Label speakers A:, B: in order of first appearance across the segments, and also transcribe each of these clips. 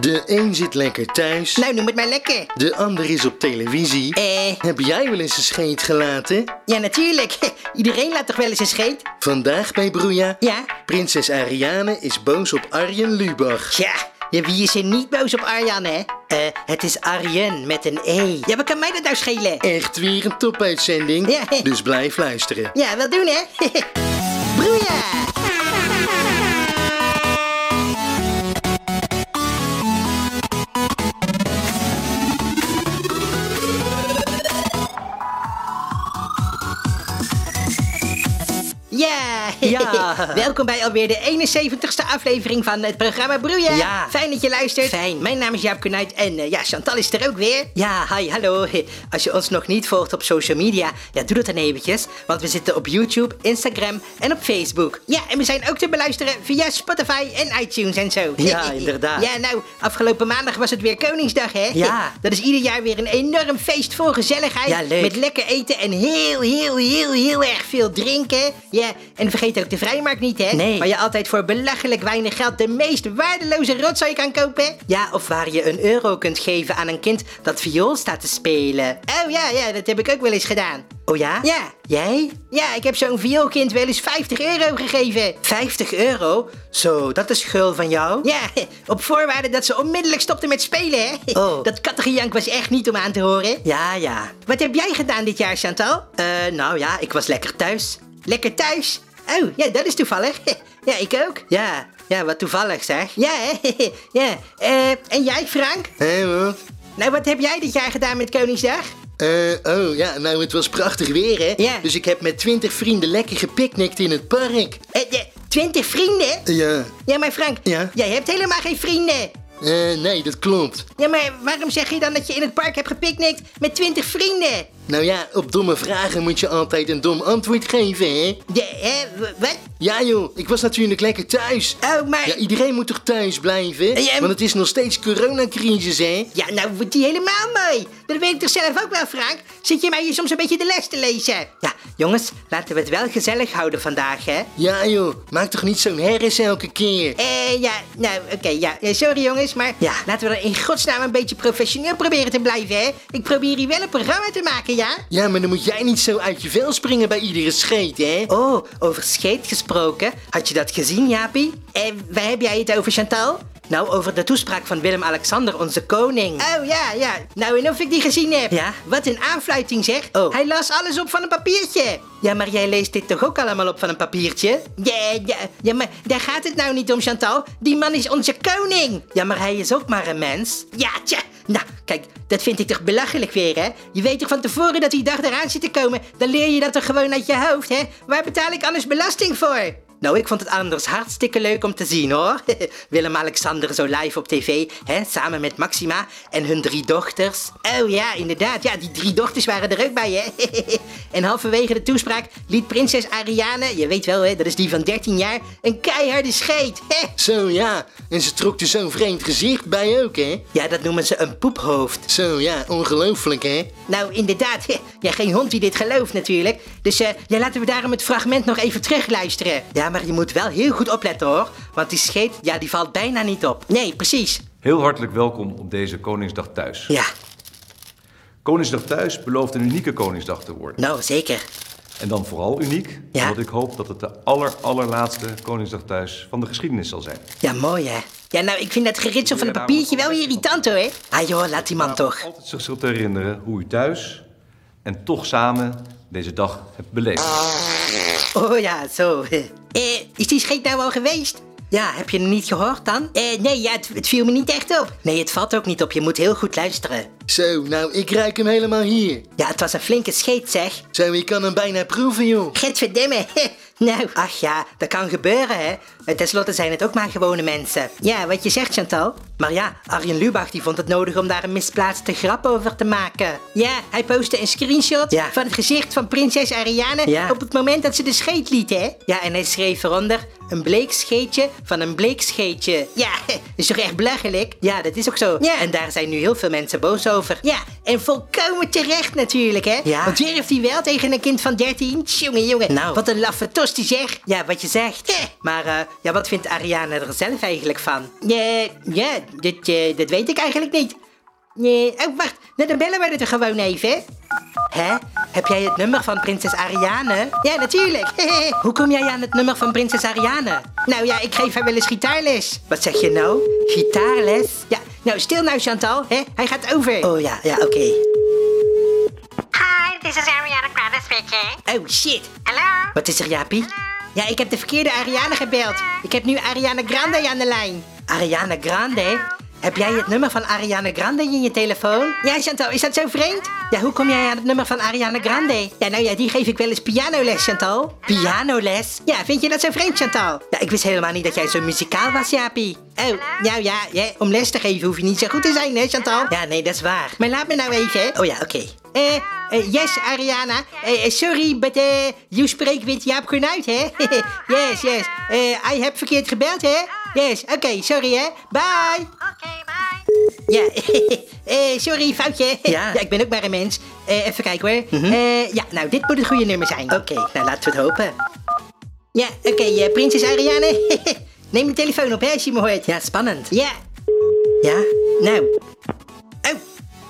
A: De een zit lekker thuis,
B: Nou, noem het maar lekker.
A: de ander is op televisie.
B: Eh,
A: Heb jij wel eens een scheet gelaten?
B: ja natuurlijk. Iedereen laat toch wel eens een scheet?
A: Vandaag bij Broeja.
B: Ja?
A: Prinses Ariane is boos op Arjen Lubach.
B: Tja, ja, wie is er niet boos op Arjan, hè? Eh, het is Arjen met een E. Ja, wat kan mij dat nou schelen?
A: Echt weer een topuitzending,
B: Ja.
A: dus blijf luisteren.
B: Ja, wel doen, hè? Broeia! Ja.
C: Ja.
B: welkom bij alweer de 71ste aflevering van het programma Broeia.
C: Ja.
B: Fijn dat je luistert. Fijn. Mijn naam is Jaap Kunuit en eh, ja, Chantal is er ook weer. Ja, hi, hallo. Als je ons nog niet volgt op social media, ja, doe dat dan eventjes. Want we zitten op YouTube, Instagram en op Facebook. Ja, en we zijn ook te beluisteren via Spotify en iTunes en zo.
C: Ja, inderdaad.
B: Ja, nou, afgelopen maandag was het weer Koningsdag, hè?
C: Ja.
B: Dat is ieder jaar weer een enorm feest vol gezelligheid.
C: Ja, leuk.
B: Met lekker eten en heel, heel, heel, heel erg veel drinken. Ja, en vergeet ook de vrijmarkt niet, hè?
C: Nee.
B: Waar je altijd voor belachelijk weinig geld de meest waardeloze rotzooi kan kopen. Ja, of waar je een euro kunt geven aan een kind dat viool staat te spelen. Oh ja, ja, dat heb ik ook wel eens gedaan.
C: Oh ja?
B: Ja.
C: Jij?
B: Ja, ik heb zo'n vioolkind wel eens 50 euro gegeven.
C: 50 euro? Zo, dat is gul van jou.
B: Ja, op voorwaarde dat ze onmiddellijk stopte met spelen, hè?
C: Oh.
B: Dat kattengejank was echt niet om aan te horen.
C: Ja, ja.
B: Wat heb jij gedaan dit jaar, Chantal?
C: Eh, nou ja, ik was lekker thuis.
B: Lekker thuis? Oh, ja, dat is toevallig. Ja, ik ook.
C: Ja, ja, wat toevallig zeg.
B: Ja, hè? Ja. Eh, en jij, Frank?
A: Hé, wat?
B: Nou, wat heb jij dit jaar gedaan met Koningsdag?
A: Eh, oh ja, nou het was prachtig weer hè.
B: Ja.
A: Dus ik heb met twintig vrienden lekker gepicnict in het park.
B: Eh, twintig vrienden?
A: Ja,
B: Ja, maar Frank,
A: Ja?
B: jij hebt helemaal geen vrienden.
A: eh, nee dat klopt.
B: Ja, maar waarom zeg je dan dat je in het park hebt gepicnict met twintig vrienden?
A: Nou ja, op domme vragen moet je altijd een dom antwoord geven hè.
B: De, hè, w- wat?
A: Ja joh, ik was natuurlijk lekker thuis.
B: Oh, maar...
A: Ja, iedereen moet toch thuis blijven?
B: Ja, en-
A: Want het is nog steeds coronacrisis, hè?
B: Ja, nou wordt die helemaal mooi. Dat weet ik toch zelf ook wel, Frank? Zit je mij hier soms een beetje de les te lezen?
C: Ja, jongens, laten we het wel gezellig houden vandaag, hè?
A: Ja joh, maak toch niet zo'n herres elke keer.
B: Eh, ja, nou, oké, ja. Eh, Sorry jongens, maar
C: Ja.
B: laten we dan in godsnaam een beetje professioneel proberen te blijven, hè? Ik probeer hier wel een programma te maken, ja?
A: Ja, maar dan moet jij niet zo uit je vel springen bij iedere scheet, hè?
C: Oh, over scheet gesproken. Had je dat gezien, Jaapie?
B: En Eh, waar heb jij het over, Chantal?
C: Nou, over de toespraak van Willem-Alexander, onze koning.
B: Oh, ja, ja. Nou, en of ik die gezien heb.
C: Ja?
B: Wat een aanfluiting, zeg.
C: Oh.
B: Hij las alles op van een papiertje.
C: Ja, maar jij leest dit toch ook allemaal op van een papiertje?
B: Ja, ja, ja, maar daar gaat het nou niet om, Chantal. Die man is onze koning.
C: Ja, maar hij is ook maar een mens.
B: Ja, tja. Nou, kijk, dat vind ik toch belachelijk weer, hè? Je weet toch van tevoren dat die dag eraan zit te komen? Dan leer je dat toch gewoon uit je hoofd, hè? Waar betaal ik anders belasting voor?
C: Nou, ik vond het anders hartstikke leuk om te zien hoor. Willem-Alexander zo live op tv, hè, samen met Maxima en hun drie dochters.
B: Oh ja, inderdaad. Ja, die drie dochters waren er ook bij, hè? en halverwege de toespraak liet prinses Ariane, je weet wel, hè, dat is die van 13 jaar, een keiharde scheet.
A: Zo ja, en ze trok er zo'n vreemd gezicht bij ook, hè?
C: Ja, dat noemen ze een poephoofd.
A: Zo ja, ongelooflijk, hè?
B: nou, inderdaad. Ja, geen hond die dit gelooft natuurlijk. Dus eh, ja, laten we daarom het fragment nog even terugluisteren.
C: Ja, maar je moet wel heel goed opletten hoor, want die scheet, ja, die valt bijna niet op.
B: Nee, precies.
D: Heel hartelijk welkom op deze Koningsdag Thuis.
C: Ja,
D: Koningsdag Thuis belooft een unieke Koningsdag te worden.
C: nou zeker.
D: En dan vooral uniek,
C: Ja.
D: omdat ik hoop dat het de aller, allerlaatste Koningsdag Thuis van de geschiedenis zal zijn.
C: Ja, mooi hè.
B: Ja, nou, ik vind dat geritsel van een papiertje wel irritant, hoor.
C: Ah joh, laat die man toch.
D: Altijd zich zult herinneren hoe u thuis en toch samen deze dag hebt beleefd.
C: Oh ja, zo.
B: Eh, is die scheet nou al geweest?
C: Ja, heb je hem niet gehoord dan?
B: Eh, nee, ja, het, het viel me niet echt op.
C: Nee, het valt ook niet op. Je moet heel goed luisteren.
A: Zo, nou, ik ruik hem helemaal hier.
B: Ja, het was een flinke scheet, zeg.
A: Zo, ik kan hem bijna proeven, joh.
B: Gadverdamme. nou,
C: Ach ja, dat kan gebeuren, hè? Eh, Ten slotte zijn het ook maar gewone mensen.
B: ja, wat je zegt, Chantal.
C: Maar ja, Arjen Lubach die vond het nodig om daar een misplaatste grap over te maken.
B: Ja, hij postte een screenshot
C: Ja.
B: van het gezicht van prinses Ariane
C: Ja.
B: op het moment dat ze de scheet liet, hè?
C: Ja, en hij schreef eronder: een bleek scheetje van een bleek scheetje.
B: Ja, is toch echt belachelijk?
C: Ja, dat is ook zo.
B: Ja.
C: En daar zijn nu heel veel mensen boos
B: over. Ja, en volkomen terecht natuurlijk, hè?
C: Ja.
B: Wat durft hij wel tegen een kind van 13? Jongen, jongen.
C: Nou.
B: Wat een laffe tosti zeg.
C: Ja, wat je zegt.
B: Ja.
C: Maar eh, ja, wat vindt Ariana er zelf eigenlijk van?
B: Nee, ja, dat, eh, dat weet ik eigenlijk niet. Nee, oh wacht, nou, dan bellen we het er gewoon even.
C: Hè? Heb jij het nummer van prinses Ariane?
B: Ja, natuurlijk.
C: Hoe kom jij aan het nummer van prinses Ariane?
B: nou ja, ik geef haar wel eens gitaarles.
C: Wat zeg je nou? Gitaarles?
B: Ja, nou stil nou Chantal, hè? hij gaat over.
C: Oh ja, ja, oké.
E: Hi, this is Ariana Grande speaking.
B: Oh, shit.
E: Hello?
C: Wat is er, Jaapie?
B: Ja, ik heb de verkeerde Ariane gebeld. Ik heb nu Ariana Grande aan de lijn.
C: Ariana Grande? Heb jij het nummer van Ariana Grande in je telefoon?
B: Ja, Chantal, is dat zo vreemd?
C: Ja, hoe kom jij aan het nummer van Ariana Grande?
B: Ja, nou ja, die geef ik wel eens pianoles, Chantal.
C: Pianoles?
B: Ja, vind je dat zo vreemd, Chantal?
C: Ja, ik wist helemaal niet dat jij zo muzikaal was, Jaapie.
B: Oh, nou ja, ja, om les te geven hoef je niet zo goed te zijn, hè, Chantal?
C: Ja, nee, dat is waar.
B: Maar laat me nou even, hè.
C: Oh ja, oké.
B: Eh, eh, yes, Ariana. Eh, eh, sorry, but eh, you spreekt met Jaap Kornuit, hè? yes, yes. Eh, I heb verkeerd gebeld, hè? Yes, oké, sorry, hè. Bye.
E: Okay, bye.
B: Ja, eh, sorry, foutje.
C: Ja. Mhm.
B: ik ben ook maar een mens. Eh, even kijken hoor. Eh, ja, nou, dit moet het goede nummer zijn.
C: Oké, nou laten we het hopen.
B: Ja, oké, eh, prinses Ariane. Neem de telefoon op, hè, als je me hoort.
C: Ja, spannend.
B: Ja,
C: Ja? Oh.
B: nou.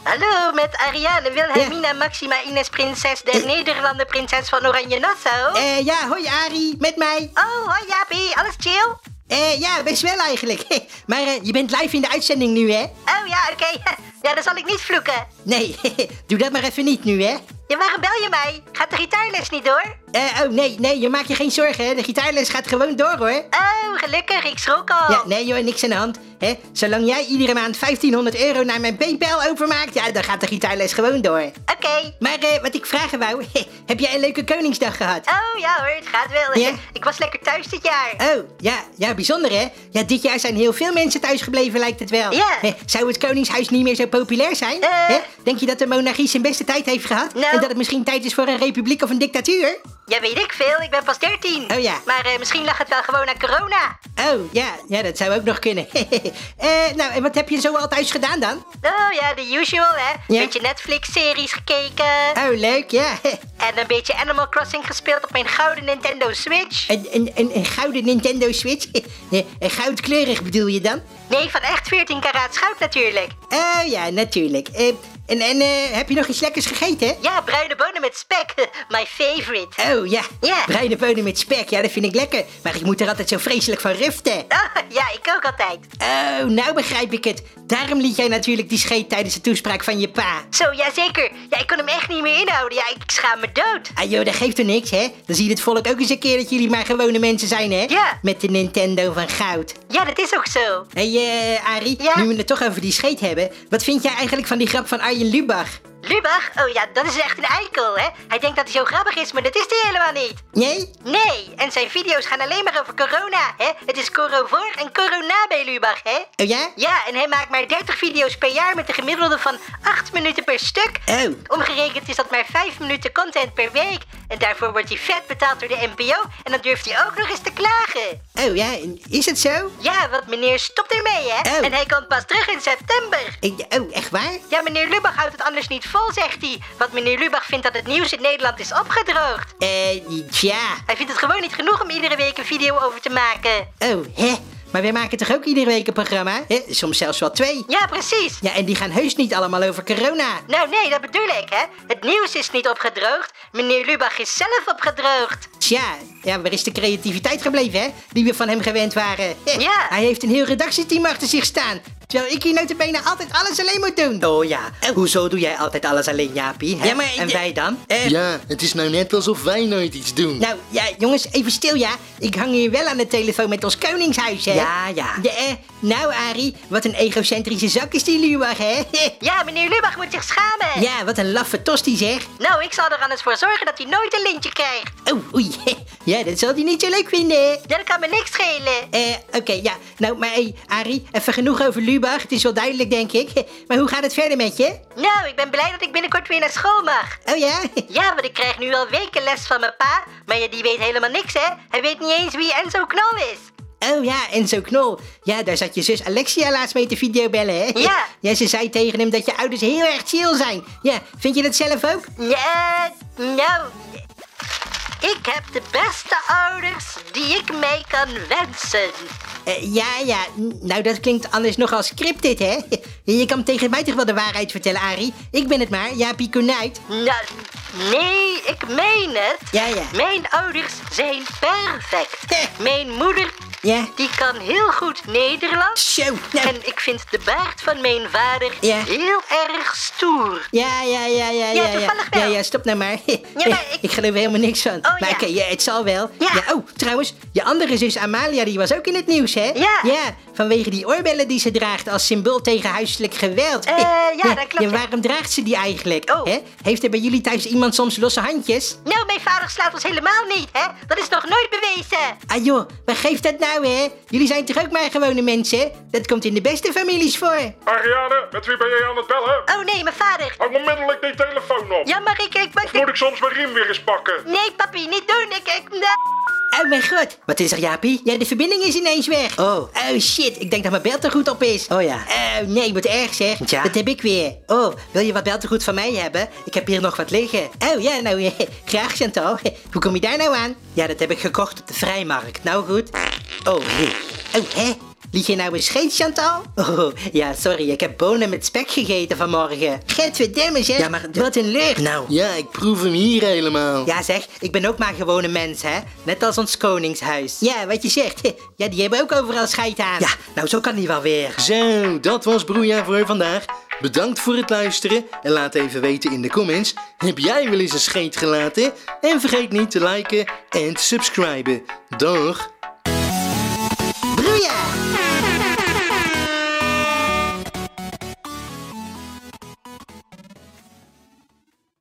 F: Hallo, met Ariane Wilhelmina Maxima Ines Prinses der Nederlanden Prinses van Oranje Nassau.
B: Eh, ja, hoi Ari, met mij.
F: Oh, hoi Jaapie, alles chill?
B: Eh, ja, best wel eigenlijk. maar eh, je bent live in de uitzending nu, hè?
F: Oh ja, oké. Ja, dan zal ik niet vloeken.
B: Nee, doe dat maar even niet nu, hè?
F: Ja, waarom bel je mij? Gaat de gitaarles niet door?
B: Eh, oh nee, nee, je maakt je geen zorgen, hè? De gitaarles gaat gewoon door, hoor.
F: Oh, gelukkig, ik schrok al.
B: Ja, nee joh, niks aan de hand. Hè? Zolang jij iedere maand 1500 euro naar mijn PayPal overmaakt, ja, dan gaat de gitaarles gewoon door.
F: Oké.
B: Maar eh, wat ik vragen wou, heb jij een leuke Koningsdag gehad?
F: Oh ja hoor, het gaat wel.
B: Ja.
F: Ik was lekker thuis dit jaar.
B: Oh, ja, ja, bijzonder hè? Ja, dit jaar zijn heel veel mensen thuisgebleven, lijkt het wel.
F: Ja.
B: Hè, Zou het Koningshuis niet meer zo populair zijn?
F: Eh.
B: Hè? Denk je dat de monarchie zijn beste tijd heeft gehad?
F: Nou.
B: En dat het misschien tijd is voor een republiek of een dictatuur?
F: Ja, weet ik veel, ik ben pas 13.
B: Oh ja.
F: Maar eh, misschien lag het wel gewoon aan corona.
B: Oh, ja, ja, dat zou ook nog kunnen. Eh, nou, en wat heb je zo al thuis gedaan dan?
F: Oh ja, de usual hè.
B: Ja.
F: Beetje Netflix-series gekeken.
B: Oh, leuk, ja.
F: En een beetje Animal Crossing gespeeld op mijn gouden Nintendo Switch.
B: Een, een, een, een gouden Nintendo Switch? Eh, eh, Goudkleurig bedoel je dan?
F: Nee, van echt 14 karaat goud natuurlijk.
B: Oh ja, natuurlijk. Eh, en en eh, heb je nog iets lekkers gegeten?
F: Ja, bruine bonen met spek. My favorite.
B: Oh ja,
F: Ja.
B: bruine bonen met spek, ja dat vind ik lekker. Maar ik moet er altijd zo vreselijk van ruften.
F: Ah, ja, ik ook altijd.
B: Oh, nou begrijp ik het. Daarom liet jij natuurlijk die scheet tijdens de toespraak van je pa.
F: Zo, ja zeker. Ja, ik kon hem echt niet meer inhouden. Ja, ik schaam me dood.
B: Ah joh, dat geeft er niks, hè? Dan zie je het volk ook eens een keer dat jullie maar gewone mensen zijn, hè?
F: Ja.
B: Met de Nintendo van goud.
F: Ja, dat is ook zo.
B: Hé, hey, eh Arie,
F: Ja?
B: nu we het toch over die scheet hebben. Wat vind jij eigenlijk van die grap van Arjen Lubach?
F: Lubach, oh ja, dat is echt een eikel, hè. Hij denkt dat hij zo grappig is, maar dat is hij helemaal niet.
B: Nee?
F: Nee, en zijn video's gaan alleen maar over corona, hè. Het is coro voor en corona bij Lubach, hè.
B: Oh ja?
F: Ja, en hij maakt maar 30 video's per jaar met een gemiddelde van 8 minuten per stuk.
B: Oh.
F: Omgerekend is dat maar 5 minuten content per week. En daarvoor wordt hij vet betaald door de NPO en dan durft hij ook nog eens te klagen.
B: Oh ja, en is het zo?
F: Ja, want meneer stopt ermee, hè?
B: Oh.
F: En hij komt pas terug in september.
B: Ik- oh, echt waar?
F: Ja, meneer Lubach houdt het anders niet vol, zegt hij. Want meneer Lubach vindt dat het nieuws in Nederland is opgedroogd.
B: Eh, tja.
F: Hij vindt het gewoon niet genoeg om iedere week een video over te maken.
B: Oh, hè? Maar wij maken toch ook iedere week een programma? Hè? Soms zelfs wel twee.
F: Ja, precies.
B: Ja, en die gaan heus niet allemaal over corona.
F: Nou nee, dat bedoel ik, hè. Het nieuws is niet opgedroogd. Meneer Lubach is zelf opgedroogd.
B: Tja, ja, waar is de creativiteit gebleven, hè? Die we van hem gewend waren. Hè,
F: Ja.
B: Hij heeft een heel redactieteam achter zich staan. Terwijl ik hier notabene altijd alles alleen moet doen.
C: Oh ja, hoezo doe jij altijd alles alleen, Jaapie? hè?
B: Ja, maar-
C: En wij dan?
B: Eh,
A: Ja, het is nou net alsof wij nooit iets doen.
B: Nou, ja, jongens, even stil, ja. Ik hang hier wel aan de telefoon met ons koningshuis, hè?
C: Ja, ja.
B: De, eh, nou, Arie, wat een egocentrische zak is die Luwag, hè?
F: Ja, meneer Lubach moet zich schamen.
B: ja, wat een laffe tosti, zeg.
F: Nou, ik zal er anders voor zorgen dat hij nooit een lintje krijgt.
B: Oh, oei. Ja, dat zal hij niet zo leuk vinden, hè?
F: Ja, dat kan me niks schelen.
B: Eh, oké, ja. Nou, maar hey, Arie, even genoeg over Lubach. Het is wel duidelijk, denk ik. Maar hoe gaat het verder met je?
F: Nou, ik ben blij dat ik binnenkort weer naar school mag.
B: Oh ja?
F: Ja, want ik krijg nu al weken les van mijn pa. Maar ja, die weet helemaal niks, hè. Hij weet niet eens wie Enzo Knol is.
B: Oh ja, en zo knol. Ja, daar zat je zus Alexia laatst mee te videobellen, hè?
F: Ja.
B: Ja, ze zei tegen hem dat je ouders heel erg chill zijn. Ja, vind je dat zelf ook?
F: Ja, nou, ik heb de beste ouders die ik mee kan wensen.
B: Eh, ja, ja, n- nou dat klinkt anders nogal scripted, hè? Je kan tegen mij toch wel de waarheid vertellen, Arie? Ik ben het maar, Jaapie Konijt.
F: Nou, nee, ik meen het.
B: Ja, ja.
F: Mijn ouders zijn perfect.
B: Eh.
F: Mijn moeder,
B: Ja.
F: die kan heel goed Nederlands.
B: Zo, nou...
F: En ik vind de baard van mijn vader
B: Ja.
F: heel erg stoer.
B: Ja, ja, ja, ja, ja.
F: toevallig
B: ja,
F: wel.
B: ja, stop nou maar.
F: Ja, maar ik- Oh,
B: ik geloof er helemaal niks van. maar
F: ja.
B: oké, ja, het zal wel.
F: Ja.
B: Oh, trouwens, je andere zus Amalia, die was ook in het nieuws, hè?
F: Ja.
B: Ja, vanwege die oorbellen die ze draagt als symbool tegen huiselijk geweld.
F: Eh, ja, dat klopt,
B: Ja,
F: ja.
B: waarom draagt ze die eigenlijk?
F: Oh.
B: Hè? Heeft er bij jullie thuis iemand soms losse handjes?
F: Nou, mijn vader slaat ons helemaal niet, hè? Dat is nog nooit bewezen.
B: Ah joh, waar geeft dat nou, hè? Jullie zijn toch ook maar gewone mensen? Dat komt in de beste families voor.
G: Ariane, met wie ben jij aan het bellen?
F: Oh nee, mijn vader.
G: Hang onmiddellijk die telefoon op.
F: Ja, maar ik... ik, ik,
G: Moet ik soms mijn riem weer eens pakken?
F: Nee, papi, niet doen. Ik... ik
B: Oh mijn god. Wat is er, Jaapie? Ja, de verbinding is ineens weg. Oh. Oh shit, ik denk dat mijn beltegoed op is. Oh ja. Oh nee, wat erg zeg.
C: Ja.
B: Dat heb ik weer. Oh, wil je wat beltegoed van mij hebben? Ik heb hier nog wat liggen. Oh ja, nou eh, graag Chantal. Hoe kom je daar nou aan? Ja, dat heb ik gekocht op de vrijmarkt. Nou goed. Oh, hé. Oh, hè? Lieg je nou eens scheet, Chantal? Oh, ja, sorry. Ik heb bonen met spek gegeten vanmorgen. Gadverdamme, zeg.
C: Ja, maar-
B: Wat een lucht.
C: Nou,
A: Ja, ik proef hem hier helemaal.
B: Ja zeg, ik ben ook maar gewoon een mens hè. Net als ons koningshuis. Ja, wat je zegt. Ja, die hebben ook overal scheid aan.
C: ja, nou zo kan die wel weer.
A: Zo, dat was Broeja voor vandaag. Bedankt voor het luisteren en laat even weten in de comments: heb jij wel eens een scheet gelaten? En vergeet niet te liken en te subscriben. Dag!
B: Broeia!